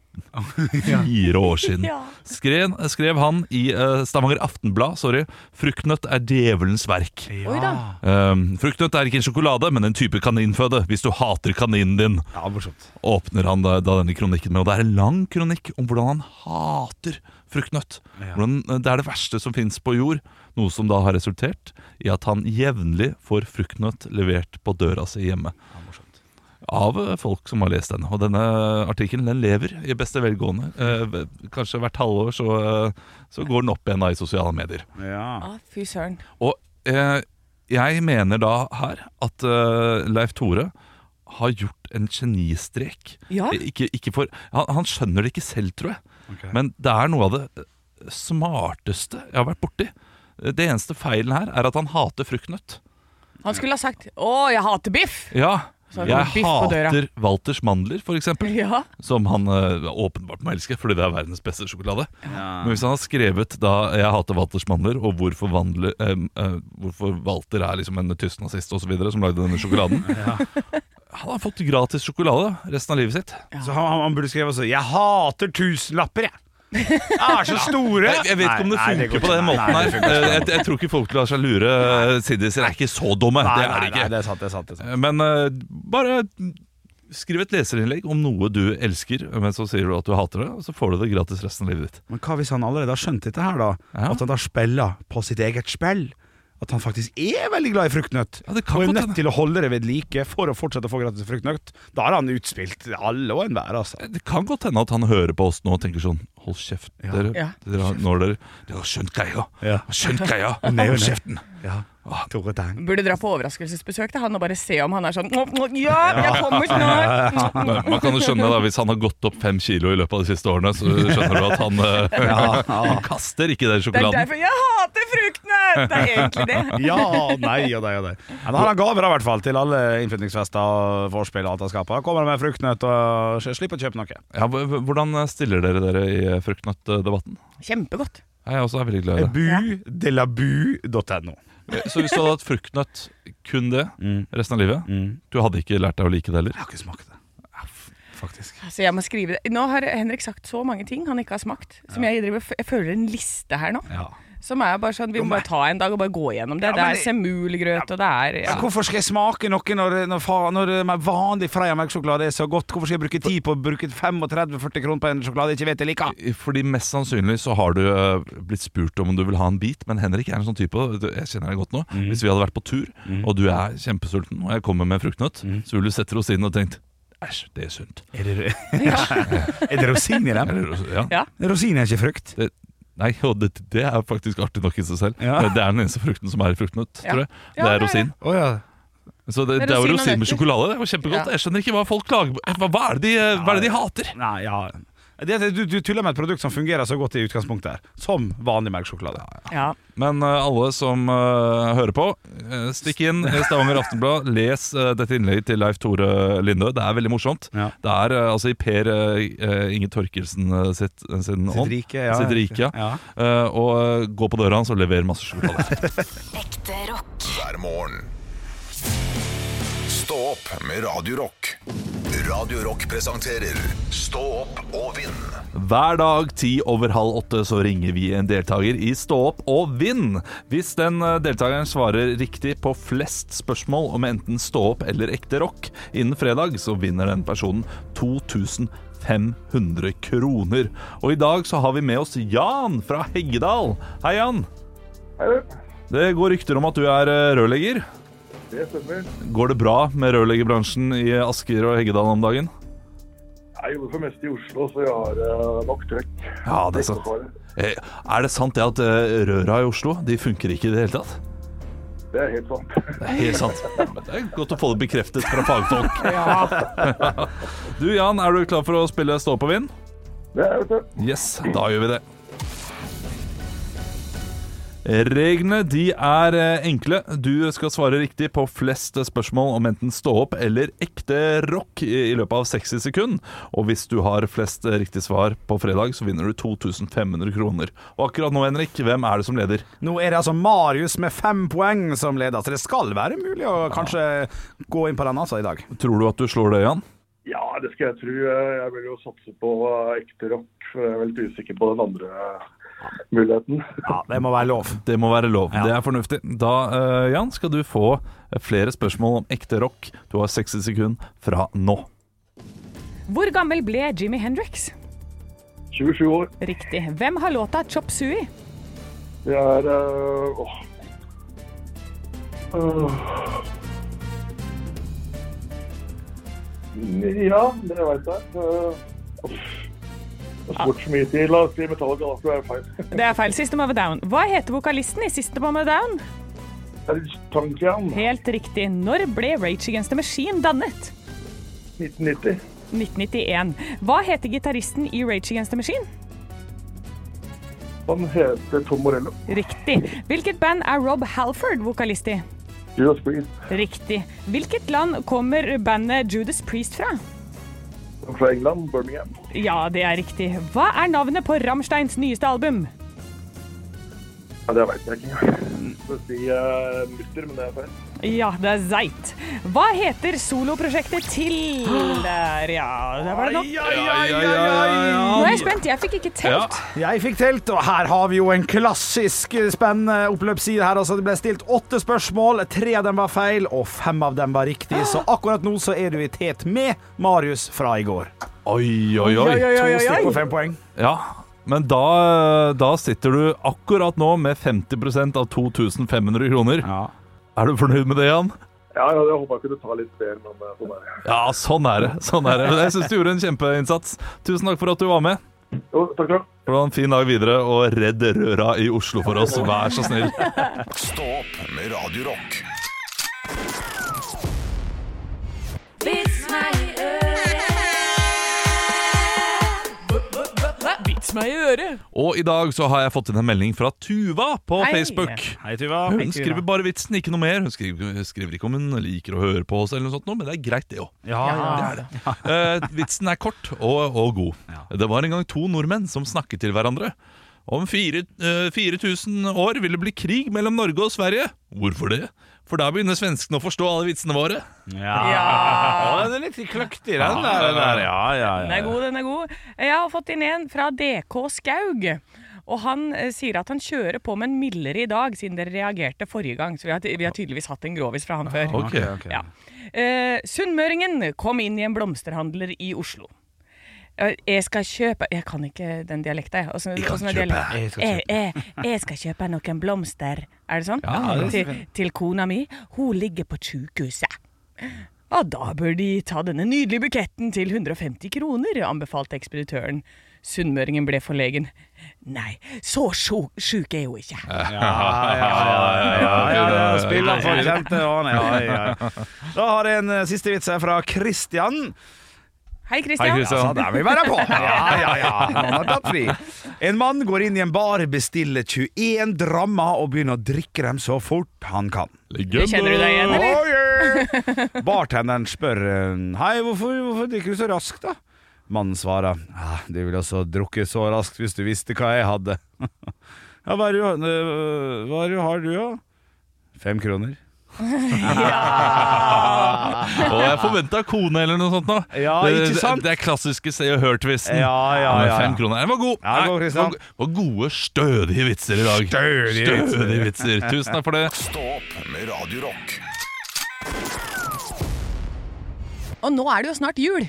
fire år siden.
Ja.
Skrev, skrev han i eh, Stavanger Aftenblad sorry, 'Fruktnøtt er djevelens verk'.
Oi da.
Ehm, fruktnøtt er ikke en sjokolade, men en type kaninføde. Hvis du hater kaninen din,
Ja, morsomt.
åpner han da, da denne kronikken med. Og det er en lang kronikk om hvordan han hater fruktnøtt. Hvordan, eh, det er det verste som fins på jord. Noe som da har resultert i at han jevnlig får fruktnøtt levert på døra si hjemme. av eh, folk som har lest den. Og denne artikkelen den lever i beste velgående. Eh, v- Kanskje hvert halvår så, eh, så går den opp igjen da i sosiale medier.
Ja.
Å, fy søren.
Og eh, jeg mener da her at eh, Leif Tore har gjort en genistrek.
Ja.
Eh, Ikke, ikke for, han, han skjønner det ikke selv, tror jeg.
Ok.
Men det er noe av det eh, smarteste jeg har vært borti. Eh, Det eneste feilen her er at han hater fruktnøtt.
Han skulle ha sagt 'Å, jeg hater biff'.
Ja,
Så har vi
jeg
biff på døra.
hater Walters mandler, for eksempel.
Ja.
Som han eh, åpenbart må elske, fordi det er verdens beste sjokolade. Men hvis han har skrevet da 'Jeg hater Walters mandler', og hvorfor, vandler, eh, eh, hvorfor Walter er liksom en tysk nazist osv. som lagde denne sjokoladen Han har fått gratis sjokolade resten av livet sitt.
Så han, han- han burde skrevet også 'Jeg hater tusenlapper, jeg'. Jeg er så store!
Jeg, jeg vet ikke om det
Nei, nei, går
funker på den
ikke.
måten
Nei, det
her.
funker ikke.
Eh, jeg, jeg tror ikke folk lar seg lure. Siddiser er ikke så dumme.
Nei,
det er
nei,
de ikke.
Nei, det er sant, det er sant, det er sant.
Men eh, bare skriv et leserinnlegg om noe du elsker, men så sier du at du hater det, og så får du det gratis resten av livet ditt.
Men hva hvis han allerede har skjønt dette her, da?
Ja.
At han da spiller på sitt eget spill? At han faktisk er veldig glad i fruktnøtt?
Ja, det kan
og er
godt
nødt
hende.
til å holde det ved like for å fortsette å få gratis fruktnøtt? Da har han utspilt alle og enhver, altså.
Det kan godt hende at han hører på oss nå og tenker sånn Hold kjeft, dere.
Ja.
dere har, når dere Dere har skjønt greia.
Ja.
Har Skjønt greia.
nei, nei.
Hold kjeften.
Ja. Tore Tang.
Burde dra på overraskelsesbesøk til han og bare se om han er sånn Ja, jeg kommer snart!
Men man kan jo skjønne da, Hvis han har gått opp fem kilo i løpet av de siste årene, så skjønner du at han, eh, han kaster ikke den
Det er
sjokoladen.
derfor jeg hater fruktnøtt! Det er egentlig det.
Ja og nei og nei og nei. Men han har gaver da, i hvert fall til alle innflyttingsfester og vorspiel og alt han skaper. Kommer med fruktnøtt og slipper å kjøpe noe.
Ja, h- h- hvordan stiller dere dere i eh, fruktnøttdebatten? altså,
Kjempegodt.
Jeg er også veldig glad i det.
Bu.delabu.no.
Så hvis du hadde hatt fruktnøtt, kun det, resten av livet
Mm.
Du hadde ikke lært deg å like det heller?
Jeg har ikke smakt det. Faktisk.
Altså, jeg må skrive det. Nå har Henrik sagt så mange ting han ikke har smakt. Som jeg, driver, jeg føler en liste her nå.
Ja.
Som er bare sånn, Vi må bare ta en dag og bare gå gjennom det.
Ja,
Det
men
er
det-
semulgrøt, og det er ja.
Men hvorfor skal jeg smake noe når, når, fa- når eh, med vanlig Freia melkesjokolade er så godt? Hvorfor skal jeg bruke tid på å bruke 35-40 kroner på en sjokolade jeg ikke vet jeg liker?
Fordi mest sannsynlig så har du eh, blitt spurt om du vil ha en bit, men Henrik er en sånn type, du- jeg kjenner deg godt nå Hvis vi hadde vært på tur, og du er kjempesulten, og jeg kommer med fruktnøtt, så ville du sett rosinen og tenkt Æsj, det er sunt.
Er det, er det rosin i dem?
Eller, altså, ja.
Ja.
Rosin er ikke frukt.
Det, nei, og det, det er faktisk artig nok i seg selv.
Ja.
Det er den eneste frukten som er fruktnøtt,
Ja.
tror jeg. det
Ja,
er
det er det.
rosin.
Å ja.
Så det,
Det er
det, er jo
rosin og
rosin med
nøtter.
sjokolade. Det er jo kjempegodt.
Ja.
Jeg skjønner ikke hva folk klager på. Hva, hva, er det de, eh, hva er det de hater?
Nei, ja. Det, det- du, du tuller med et produkt som fungerer så godt i utgangspunktet her. Som vanlig melkesjokolade.
ja.
Men eh, alle som eh, hører på, eh, stikk inn i Stavanger Aftenblad. Les eh, dette innlegget til Leif Tore Lindø. Det er veldig morsomt.
Ja.
Det er eh, altså i Per eh, Inge Torkelsen eh, sitt, sin
Sitt
hånd.
rike, ja.
Sitt rike, ja.
Ja.
Eh, og eh, gå på døra hans og lever masse sjokolade.
hver morgen. Stå opp med Radio Rock. Radio Rock presenterer Stå opp og vinn.
Hver dag ti over halv åtte så ringer vi en deltaker i Stå opp og vinn. Hvis den eh, deltakeren svarer riktig på flest spørsmål om enten stå opp eller ekte rock innen fredag, så vinner den personen 2500 kroner. Og i dag så har vi med oss Jan fra Heggedal. Hei, Jan. Det går rykter om at du er eh, rørlegger.
Det stemmer.
Går det bra med rørleggerbransjen i Asker og Heggedal om dagen?
Jeg jobber for mest i Oslo, så jeg har eh, nok trøkk.
Ja, det er sant. Eh, Er det sant det at eh, røra i Oslo de funker ikke i det hele tatt?
Det er helt sant.
Helt sant. Det er godt å få det bekreftet fra fagfolk. Du Jan, er du klar for å spille Stå på vind?
Det er, vet du.
Yes, da gjør vi det. Reglene de er eh, enkle. Du skal svare riktig på flest spørsmål om enten stå opp eller ekte rock i i løpet av 60 sekunder. Og hvis du har flest eh, riktig svar på fredag, så vinner du 2500 kroner. Og akkurat nå, Henrik, hvem er det som leder?
Nå er det altså Marius med fem poeng som leder, så det skal være mulig å kanskje gå inn på den altså i dag.
Tror du at du slår det, Jan?
Ja, det skal jeg tro. Jeg vil jo satse på eh, ekte rock, for jeg er veldig usikker på den andre eh, muligheten.
Ja, det må være lov.
Det må være lov. Det er fornuftig. Da, eh, Jan, skal du få eh, flere spørsmål om ekte rock. Du har 60 sekunder fra nå.
Hvor gammel ble Jimmy Hendrix?
27 år.
Riktig. Hvem har låta 'Chop Sui'?
Det er eh, åh. Åh. Ja, det veit jeg. Eh, uff. Jeg har spurt så mye til. La oss si Metallica, da. for Det er feil.
Det er feil. System of a Down. Hva heter vokalisten i System of a Down?
Det er Tankian.
Helt riktig. Når ble Rage Against the Machine dannet?
1990.
1991. Hva heter gitaristen i Rage Against the Machine?
Han heter Tom Morello.
Riktig. Hvilket band er Rob Halford vokalist i?
Judas Priest.
Riktig. Hvilket land kommer bandet Judas Priest fra?
Han er Fra England. Birmingham.
Ja, det er riktig. Hva er navnet på Rammsteins nyeste album?
Ja, det veit jeg ikke engang. Jeg skal si eh, mutter, men det er feil.
Ja, det er Zeit. Hva heter soloprosjektet til Der, ja. Der var det nok. Nå er jeg spent. Jeg fikk ikke telt.
Jeg fikk telt, og her har vi jo en klassisk eh, spennende oppløpsside her. Altså, det ble stilt åtte spørsmål, tre av dem var feil, og fem av dem var riktig. Så akkurat nå så er du i tet med Marius fra i går.
Oi, oi, oi.
To stykk på fem poeng.
Ja, men da, da sitter du akkurat nå med 50 av 2500 kroner. Er du fornøyd med det, Jan?
Ja, ja, jeg håpa jeg kunne ta litt mer, men eh, sånn er det.
Ja, sånn er det. sånn er det. Men Jeg syns du gjorde en kjempeinnsats. Tusen takk for at du var med.
Jo, takk skal du ha.
Ha en fin dag videre, og redd røra i Oslo for oss, vær så snill.
Stå opp med Radio Rock.
Vits meg i øret. Vits meg i øret.
Og i dag så har jeg fått inn en melding fra Tuva på
Hei.
Facebook.
Hei, Tuva.
Hun
Hei, Tuva.
skriver bare vitsen, ikke noe mer. Hun skriver, skriver ikke om hun liker å høre på oss, eller noe sånt, nå, men det er greit, det òg.
ja.
Det er det. Eh, vitsen er kort og, og god. Det var en gang to nordmenn som snakket til hverandre. Om fire- eh, 4000 år vil det bli krig mellom Norge og Sverige. Hvorfor det? For da begynner svenskene å forstå alle vitsene våre.
Ja. Den er litt kløktig, den der. Den der. Ja, ja,
Den
ja.
er god, den er god. Jeg har fått inn en fra DK Skaug. Og han eh, sier at han kjører på med en mildere i dag, siden dere reagerte forrige gang. Så vi har, vi har tydeligvis hatt en grovis fra han før.
Ok, ok.
Ja. Eh, Sunnmøringen kom inn i en blomsterhandler i Oslo. Eh, Jeg skal kjøpe Jeg kan ikke den dialekta, jeg. Åssen-
Jeg kan
åssen er
kjøpe.
dialekten?
Jeg skal
Jeg,
kjøpe.
jeg, jeg skal kjøpe noen blomster. Er det sånn?
Ja, det er så
til,
fint.
til kona mi. Hun ligger på sjukehuset. Ja, da bør de ta denne nydelige buketten til 150 kroner, anbefalte ekspeditøren. Sunnmøringen ble forlegen. Nei, så sjo- sjuk er hun ikke.
Ja, ja, ja, ja, ja, ja. Spiller for kjente aner. Ja, ja, ja. Da har jeg en eh, siste vits her fra Christian.
Hei, Christian.
Ja, altså, der vil vi være på. Ja, ja, ja. Han har tatt fri. En mann går inn i en bar, bestiller 21 drammer og begynner å drikke dem så fort han kan.
Det kjenner du deg igjen, eller?
Bartenderen spør eh, Hei, hvorfor, hvorfor drikker du så raskt da? Mannen svarer ah, Du ville også drukket så raskt hvis du visste hva jeg hadde Ja, hva er det du, eh, hva er det du har du da? Fem kroner
Og jeg forventa kone eller noe sånt nå.
Ja,
det,
ikke sant?
Det, det er klassiske Se og Hør-tvisten.
Ja, ja,
Med
ja,
Fem
ja.
kroner. Den var god.
Ja, den var god,
Nei,
Christian.
var gode, stødige vitser i dag.
Stødige
Stødige
vitser.
vitser. Tusen takk for det.
Stå opp med Radio Rock.
Og nå er det jo snart jul.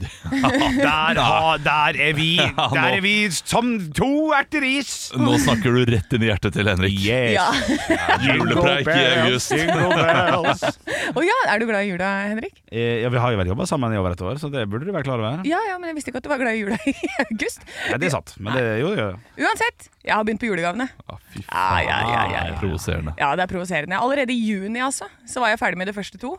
der, ha, der er vi
Ja, nå-
Der er vi som to erter is
Nå snakker du rett inn i hjertet til Henrik.
Yes.
Ja.
Julepreik i august.
Å ja, er du glad i jula, Henrik?
Eh, Ja, vi har jo vært jobbet sammen i over et år Så det burde du være klar over
Ja, ja, men jeg visste ikke at du var glad i jula i august.
Nei, det er sant Men det, jo, jo, jo.
Uansett, jeg har begynt på julegavene. Ja, ja, ja, ja, ja.
Provoserende.
Ja, det er provoserende. Allerede i juni altså, så var jeg ferdig med de første to.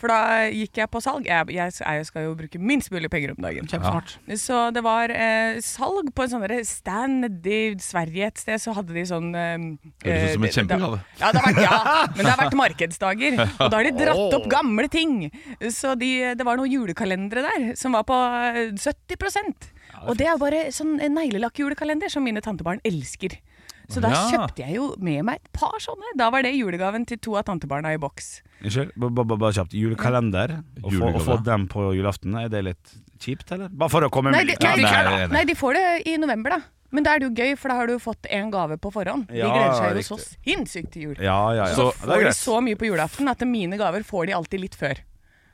For da gikk jeg på salg. Jeg, jeg, jeg skal jo bruke minst mulig penger om dagen.
Kjempesmart.
Så det var eh, salg på en sånn derre stand nede i Sverige et sted. Så hadde de sånn eh,
Høres ut som en
eh, det-
kjempegave.
det- Ja, det har vært, ja, men det har vært markedsdager. Og da har de dratt opp gamle ting. Så de, det var noen julekalendere der som var på eh, 70 Og det er bare sånn eh, neglelakkjulekalender som mine tantebarn elsker. Så da
Ja.
kjøpte jeg jo med meg et par sånne. Da var det julegaven til to av tantebarna i boks.
Unnskyld, ba- ba- ba- bare kjapt. Julekalender, å få,
Julegave.
å få dem på julaften, er det litt kjipt, eller? Bare for å komme
Nei,
med
de,
litt
nei,
Ja,
de, nei, de får det i november, da. Men da er det jo gøy, for da har du fått en gave på forhånd. De
Ja,
gleder seg jo så
riktig.
sinnssykt til jul.
Ja, ja, ja.
Så
Det er
får de
greit.
så mye på julaften at mine gaver får de alltid litt før.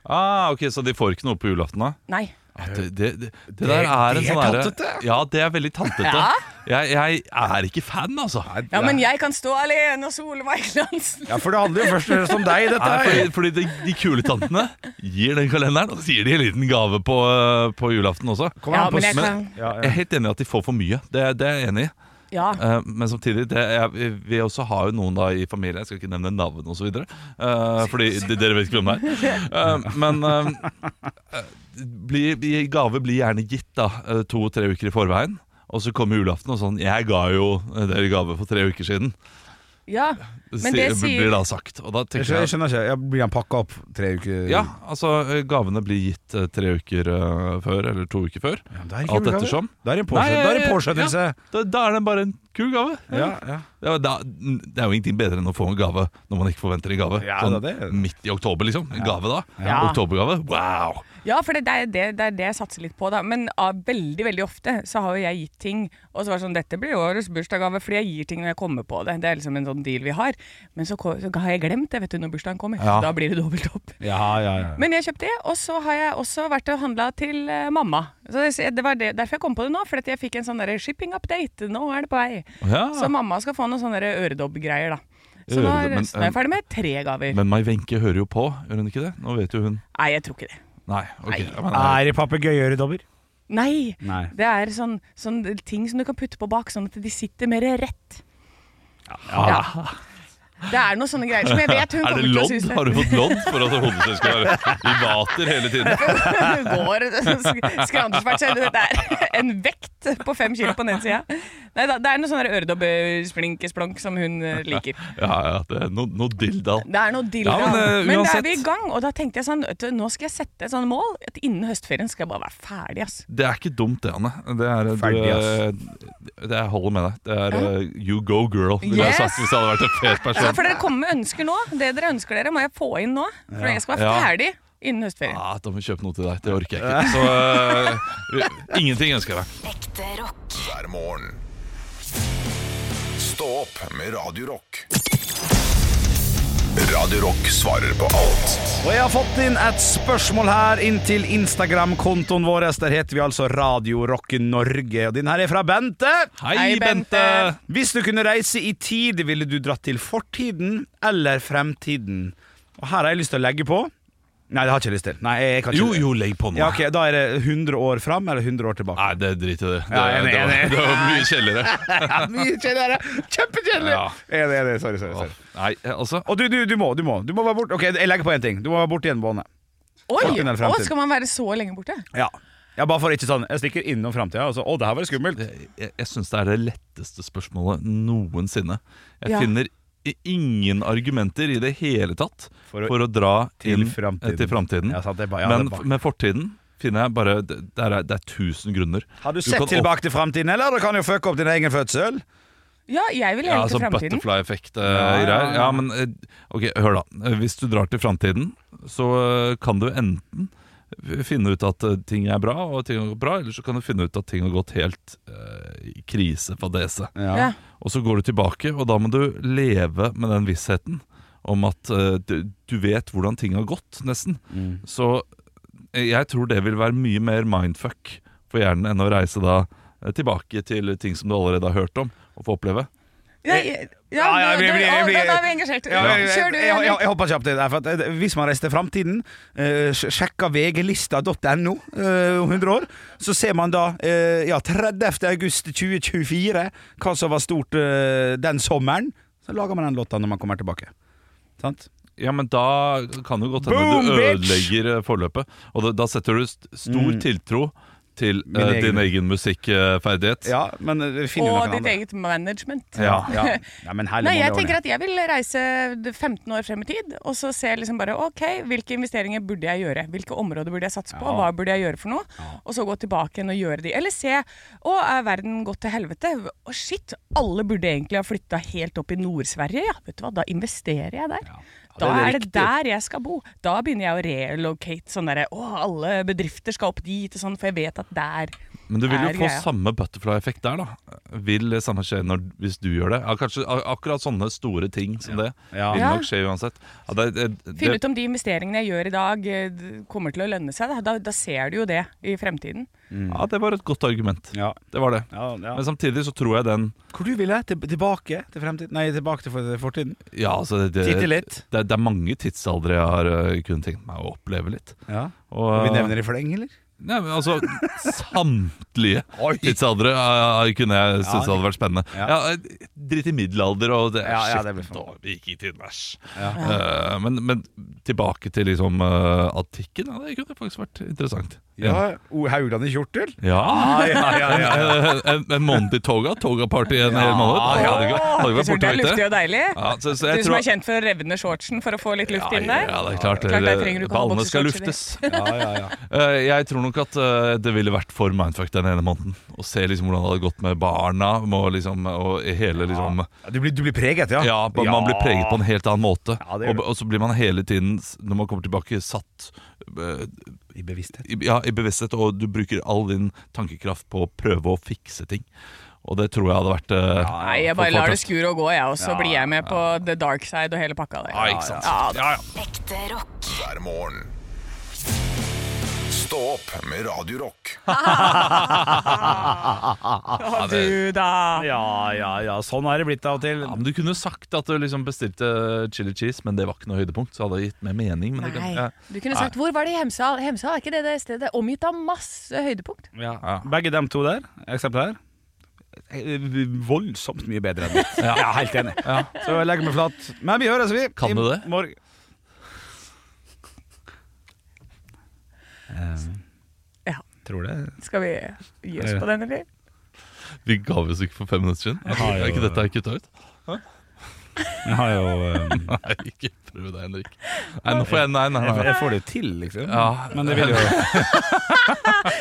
Ah, ok, Så de får ikke noe på julaften, da?
Nei.
Ja, Det, det, det, det
Det-
der er en
det er
sånn derre-
tantete.
Ja, det er veldig tantete.
Ja.
Jeg, jeg er ikke fan, altså.
Ja, men jeg kan stå alene og Solveig Glansen.
Ja, for det handler jo først og fremst om deg, dette
Nei,
her.
Fordi, fordi de, de kule tantene gir den kalenderen, og så gir de en liten gave på, eh, på julaften også.
Kom an Ja, på- men jeg kan-
Ja, ja.
jeg er helt enig i at de får for mye. Det, det er jeg enig i.
Ja.
Eh, men samtidig, det er, vi, vi også har jo noen da i familien, jeg skal ikke nevne navn osv., uh, fordi de, dere vet ikke hvem det er. Eh, men eh, eh, bli, bli- gave blir gjerne gitt da eh, to-tre uker i forveien. Og så kommer julaften og sånn 'Jeg ga jo eh, dere gave for tre uker siden'.
Ja, men det
sier-
sier
blir da sagt. Og da
Jeg
tenker
skjønner, jeg
jeg
skjønner ikke. Jeg blir han pakka opp tre uker
ja, altså eh, Gavene blir gitt eh, tre uker eh, før, eller to uker før.
det er ikke
alt
julegave.
ettersom.
Da er det en påskjø- da er det en påskjønnelse.
ja, da, da er det bare en kul gave.
Ja, ja.
Ja, da, det er jo ingenting bedre enn å få en gave når man ikke forventer en gave.
Ja,
sånn
det er det.
midt i oktober, liksom. En gave da.
Ja.
Oktobergave. Wow!
Ja, for det det er det, det er det jeg satser litt på, da. Men ah, veldig veldig ofte så har jo jeg gitt ting, og så var det sånn Dette blir årets bursdagsgave, fordi jeg gir ting når jeg kommer på det. Det er liksom en sånn deal vi har. Men så, ko- så har jeg glemt det, vet du, når bursdagen kommer.
Ja.
Da blir det dobbelt opp.
Ja, ja, ja.
Men jeg kjøpte det, og så har jeg også vært og handla til eh, mamma. Så det, det var det, derfor jeg kom på det nå, fordi at jeg fikk en sånn der shipping update. Nå er det på vei.
Ja.
Så mamma skal få noen sånne der øredobbgreier, da. Så nå
Øre-
er,
Ah. men,
så nå er jeg ferdig med tre gaver.
Men Mai Wenche hører jo på, gjør hun ikke det? Nå vet jo hun
Nei, jeg tror ikke det.
Nei. ok. Ja, men,
Er det papegøyeøredobber?
Nei!
Nei.
Det er sånn, sånn ting som du kan putte på bak, sånn at de sitter mer rett. Ja. Det er noen sånne greier som jeg vet hun
er det
kommer til å
lodd?
synes det.
Har du fått lodd for at hodet ditt skal være i vater hele tiden?
går skransesvart, så det er en vekt på fem kilo på den ene sida. Nei da, det er noe sånn der øredobbesplinkesplonk som hun eh, liker.
Ja, ja, det er no, noe dilldall.
Det er noe dildo.
Ja, men,
men,
eh,
da
uansett.
er vi i gang, og da tenkte jeg sånn vet du, Nå skal jeg sette et sånn mål. At innen høstferien skal jeg bare være ferdig, ass.
Det er ikke dumt, det, Anne. Det er,
Ferdig,
du, eh, det, jeg holder med deg. Det er eh, you go, girl, ville
Yes!
jeg sagt hvis jeg hadde vært en fet
Ja,
person.
for dere kommer med ønsker nå. Det dere ønsker dere, må jeg få inn nå. For jeg skal være
Ja.
ferdig innen høstferien.
Ja, da må vi kjøpe Ah, noe til deg. Det orker jeg ikke. Så eh, ingenting ønsker jeg meg.
hver morgen. Stå opp med Radio Rock. Radio Rock svarer på alt
Og jeg har fått inn et spørsmål her inn til Instagram-kontoen vår. Der heter vi altså Radio Rock Norge. Og din her er fra Bente.
Hei,
Hei, Bente.
Bente!
Hvis du kunne reise i tid, ville du dratt til fortiden eller fremtiden? Og her har jeg lyst til å legge på. Nei, det har jeg ikke lyst til. Nei, jeg, jeg kan ikke.
Jo, jo, legg på nå.
Ja, ok, Da er det 100 år fram eller 100 år tilbake.
Nei, det drit i det. Det,
Ja, jeg er
det, var,
enig.
det var mye kjellere.
Ja, mye kjedeligere. Kjempekjedelig!
Ja.
Enig, enig. Sorry, sorry. sorry.
Nei, eh, altså
Og du, du, du må, du må. Du må være borte. Ok, jeg legger på én ting. Du må være borte i en måned.
Oi!
Fortiden eller
Å,
fremtiden?
skal man være så lenge borte?
Ja. ja bare for ikke sånn Jeg stikker innom framtida, og så Å, det her var det skummelt.
Jeg, jeg syns det er det letteste spørsmålet noensinne. Jeg
Ja.
finner i- ingen argumenter i det hele tatt
For å-
for å, dra
til
inn
framtiden.
eh, til framtiden.
Ja, sant, det er bare- ja,
Men
det er bare-
f- med fortiden finner jeg bare Det, det er, det er tusen grunner.
Har du
kan
sett
opp-
Tilbake til framtiden, eller? Du kan jo fucke opp din egen fødsel.
Ja, jeg vil
Ja,
gjerne
altså
til fremtiden.
butterfly-effekt-greier. Ja,
ja, ja.
men eh, ok, hør da. Eh, Hvis du drar til framtiden, så eh, kan du enten finne ut at eh, ting er bra, og ting har gått bra, eller så kan du finne ut at ting har gått helt eh, i krisefadese.
Ja.
Og så går du tilbake, og da må du leve med den vissheten om at eh, du, du vet hvordan ting har gått, nesten.
Mm.
Så eh, jeg tror det vil være mye mer mindfuck for hjernen enn å reise da eh, tilbake til ting som du allerede har hørt om, og få oppleve.
Ja, jeg- ja,
Ja, ja,
det-
jeg blir-
det-
jeg
å,
blir-
da- Da er vi engasjert.
Ja, jeg, jeg,
Kjør du,
jeg, jeg,
Henrik.
jeg hopper kjapt i det. her, For at, eh, hvis man reiser til framtiden, eh, sj- sjekker vglista.no eh, om 100 år, så ser man da eh, ja, 30. august 2024 hva som var stort eh, den sommeren. Så lager man den låta når man kommer tilbake. Sant?
Ja, men da kan det godt hende
Boom, bitch!
du
Mm.
ødelegger eh, forløpet. Og da, da setter du st stor tiltro til
Min
eh,
egen.
din egen musikkferdighet.
Ja, men eh, vi finner
og
noen
ditt
andre.
eget management.
Ja, ja. ja men herlig
Nei,
må
jeg
det ordne.
tenker at jeg vil reise 15 år frem i tid, og så se liksom bare OK, hvilke investeringer burde jeg gjøre? Hvilke områder burde jeg satse på? Hva burde jeg gjøre for noe? Og så gå tilbake igjen og gjøre de. Eller se Å, er verden gått til helvete? Å, shit, alle burde egentlig ha flytta helt opp i Nord-Sverige, ja. Vet du hva, da investerer jeg der.
Ja, det
Da
er
er det
riktig.
der jeg skal bo. Da begynner jeg å relocate sånn derre Å, alle bedrifter skal opp dit og sånn, for jeg vet at der
Men du vil jo
er
få
greia.
samme butterfly-effekt der, da. Vil det samme skje når, hvis du gjør det? Ja, kanskje a- akkurat sånne store ting som det
Ja.
vil
Ja.
nok skje uansett. Ja, det, det,
Finne ut
det,
om de investeringene jeg gjør i dag, eh, d- kommer til å lønne seg. Da, da, da ser du jo det i fremtiden.
ja, det var et godt argument. Det var det. Men samtidig så tror jeg den
Hvor du ville? Til, tilbake til fremtiden? Nei, tilbake til for- fortiden?
Ja, altså det, det,
Titte
det,
litt.
det er mange tidsaldre jeg har øh, kunnet tenkt meg å oppleve litt.
Ja.
Og,
Og vi
øh,
nevner i fleng, eller?
Nei, men altså Samtlige tidsaldre ja, ja, kunne jeg
Ja.
synes hadde vært spennende. Ja.
Ja.
Dritt i middelalder og det,
Ja, ja, det blir
shit,
for-
da, vi gikk hit i univers.
Ja.
Eh, men, men tilbake til liksom eh, antikken. Ja, det kunne faktisk vært interessant.
Ja, O. Haugland i kjortel?
Ja,
Ah, ja, ja, ja, ja.
En, en, en måned i toga. Toga-party en hel
Ja,
måned.
ja.
Hadde ikke- hadde ikke vært
det er
borte
luftig og deilig.
Ja, så, så
du
jeg
som
tror
er kjent for å revne shortsen for å få litt luft inn der.
ja, det er klart.
der
det-
trenger du ikke ha
ballene skal luftes.
boksershorts i det.
Eh, jeg tror nok at eh, det ville vært for mindfuck den ene måneden. Å se liksom hvordan det hadde gått med barna må liksom, og hele liksom
Du blir, du blir preget, ja.
Ja, ba- man blir preget på en helt annen måte.
det gjør
og,
du.
og så blir man hele tiden, s- når man kommer tilbake, satt eh,
I bevissthet.
i- ja, i bevissthet, og du bruker all din tankekraft på å prøve å fikse ting. Og det tror jeg hadde vært eh,
Nei, jeg
for
bare lar det
fortøft.
skure og gå, jeg, og så
Ja,
blir jeg med på the dark side og hele pakka der.
Ja, ikke sant. Ja,
Ekte rock. Hver morgen. Stå opp med Radio Rock.
Å, du da.
Ja, ja, ja. Sånn er det blitt av og til.
Ja, men du kunne sagt at du liksom bestilte chili cheese, men det var ikke noe høydepunkt. Så hadde det gitt mer mening. Men det kan,
Nei. Du kunne sagt 'hvor var det i Hemsedal'? Hemsedal er ikke det, det stedet omgitt av masse høydepunkt.
Ja. Begge dem to der, eksept her eh, Voldsomt mye bedre enn mitt.
Ja.
Ja, helt enig. Så jeg legger meg flat. Men vi høres, vi.
Kan du det?
Morgen.
Ja.
Tror det.
Skal vi gi oss på den, eller?
Vi ga oss ikke for fem minutter siden.
Jeg har jo-
Er ikke dette kutta ut?
Jeg har jo eh,
Nei, ikke prøv det, Henrik. Nei, nå får jeg Nei, nei,
jeg,
nei.
jeg får det jo til, liksom.
Ja.
Men det vil jo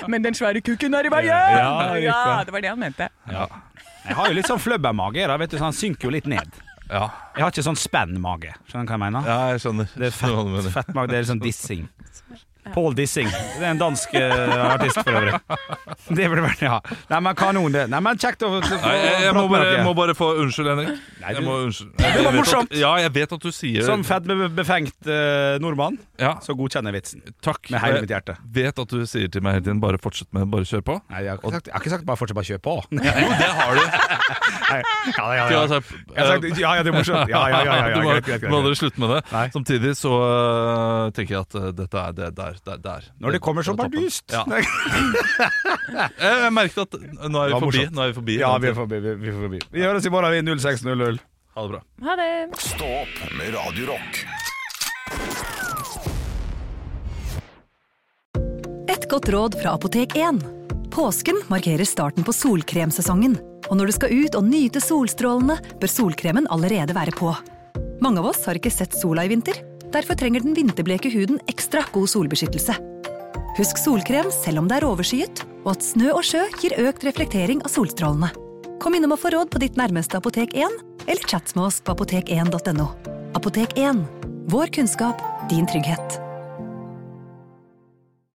Men den svære kukken er i veien!
Ja, riktig.
Ja, det var det han mente.
Ja.
Jeg har jo litt sånn fløbbermage, da, vet du, så han synker jo litt ned.
ja.
Jeg har ikke sånn spennmage. Skjønner du hva jeg mener?
ja jeg skjønner.
Det er
Skjønner hva du
fett,
mener.
fettmage, det er sånn dissing. Paul Dissing. Det er en dansk eh, artist, for øvrig. Det burde vært, ja. Nei, men kanon, det. Nei, men kjekt å få
Nei, jeg, jeg, må
prate med
bare, jeg
dere.
må bare få Unnskyld, Henrik.
Nei, du-
Jeg må unnskyld.
Det var
Jeg vet at-
morsomt.
Ja, jeg vet at du sier
Som Sånn fettbefengt eh, nordmann,
ja,
så godkjenner jeg vitsen.
Takk.
Med hele
Og
mitt hjerte.
Jeg vet at du sier til meg hele tiden 'bare fortsett med det, bare kjør på'.
Nei, jeg har ikke sagt, jeg har ikke sagt bare fortsett, bare kjør på.
Jo, det har du.
Nei, ja, ja,
Ja,
ja.
altså,
Jeg har sagt,
eh,
ja, ja, det er morsomt. Ja, ja, ja. ja,
du
ja,
må,
greit, greit,
du må
greit,
aldri slutte med det.
Nei.
Samtidig så øh, tenker jeg at øh, dette er det der, der, der.
Når det kommer så
var toppen.
bardust.
Ja. Jeg, jeg merket at nå er
Det var
vi forbi.
morsomt.
Nå er vi forbi.
Ja, vi er forbi. Vi, vi, er forbi. vi høres i morgen, vi. 06.00.
Ha det bra.
Ha det.
Stå opp med Radio Rock.
Et godt råd fra Apotek 1. Påsken markerer starten på solkremsesongen. Og når du skal ut og nyte solstrålene, bør solkremen allerede være på. Mange av oss har ikke sett sola i vinter. Derfor trenger den vinterbleke huden ekstra god solbeskyttelse. Husk solkrem selv om det er overskyet, og at snø og sjø gir økt reflektering av solstrålene. Kom innom og få råd på ditt nærmeste Apotek 1, eller chats med oss på apotek1.no. Apotek 1 vår kunnskap, din trygghet.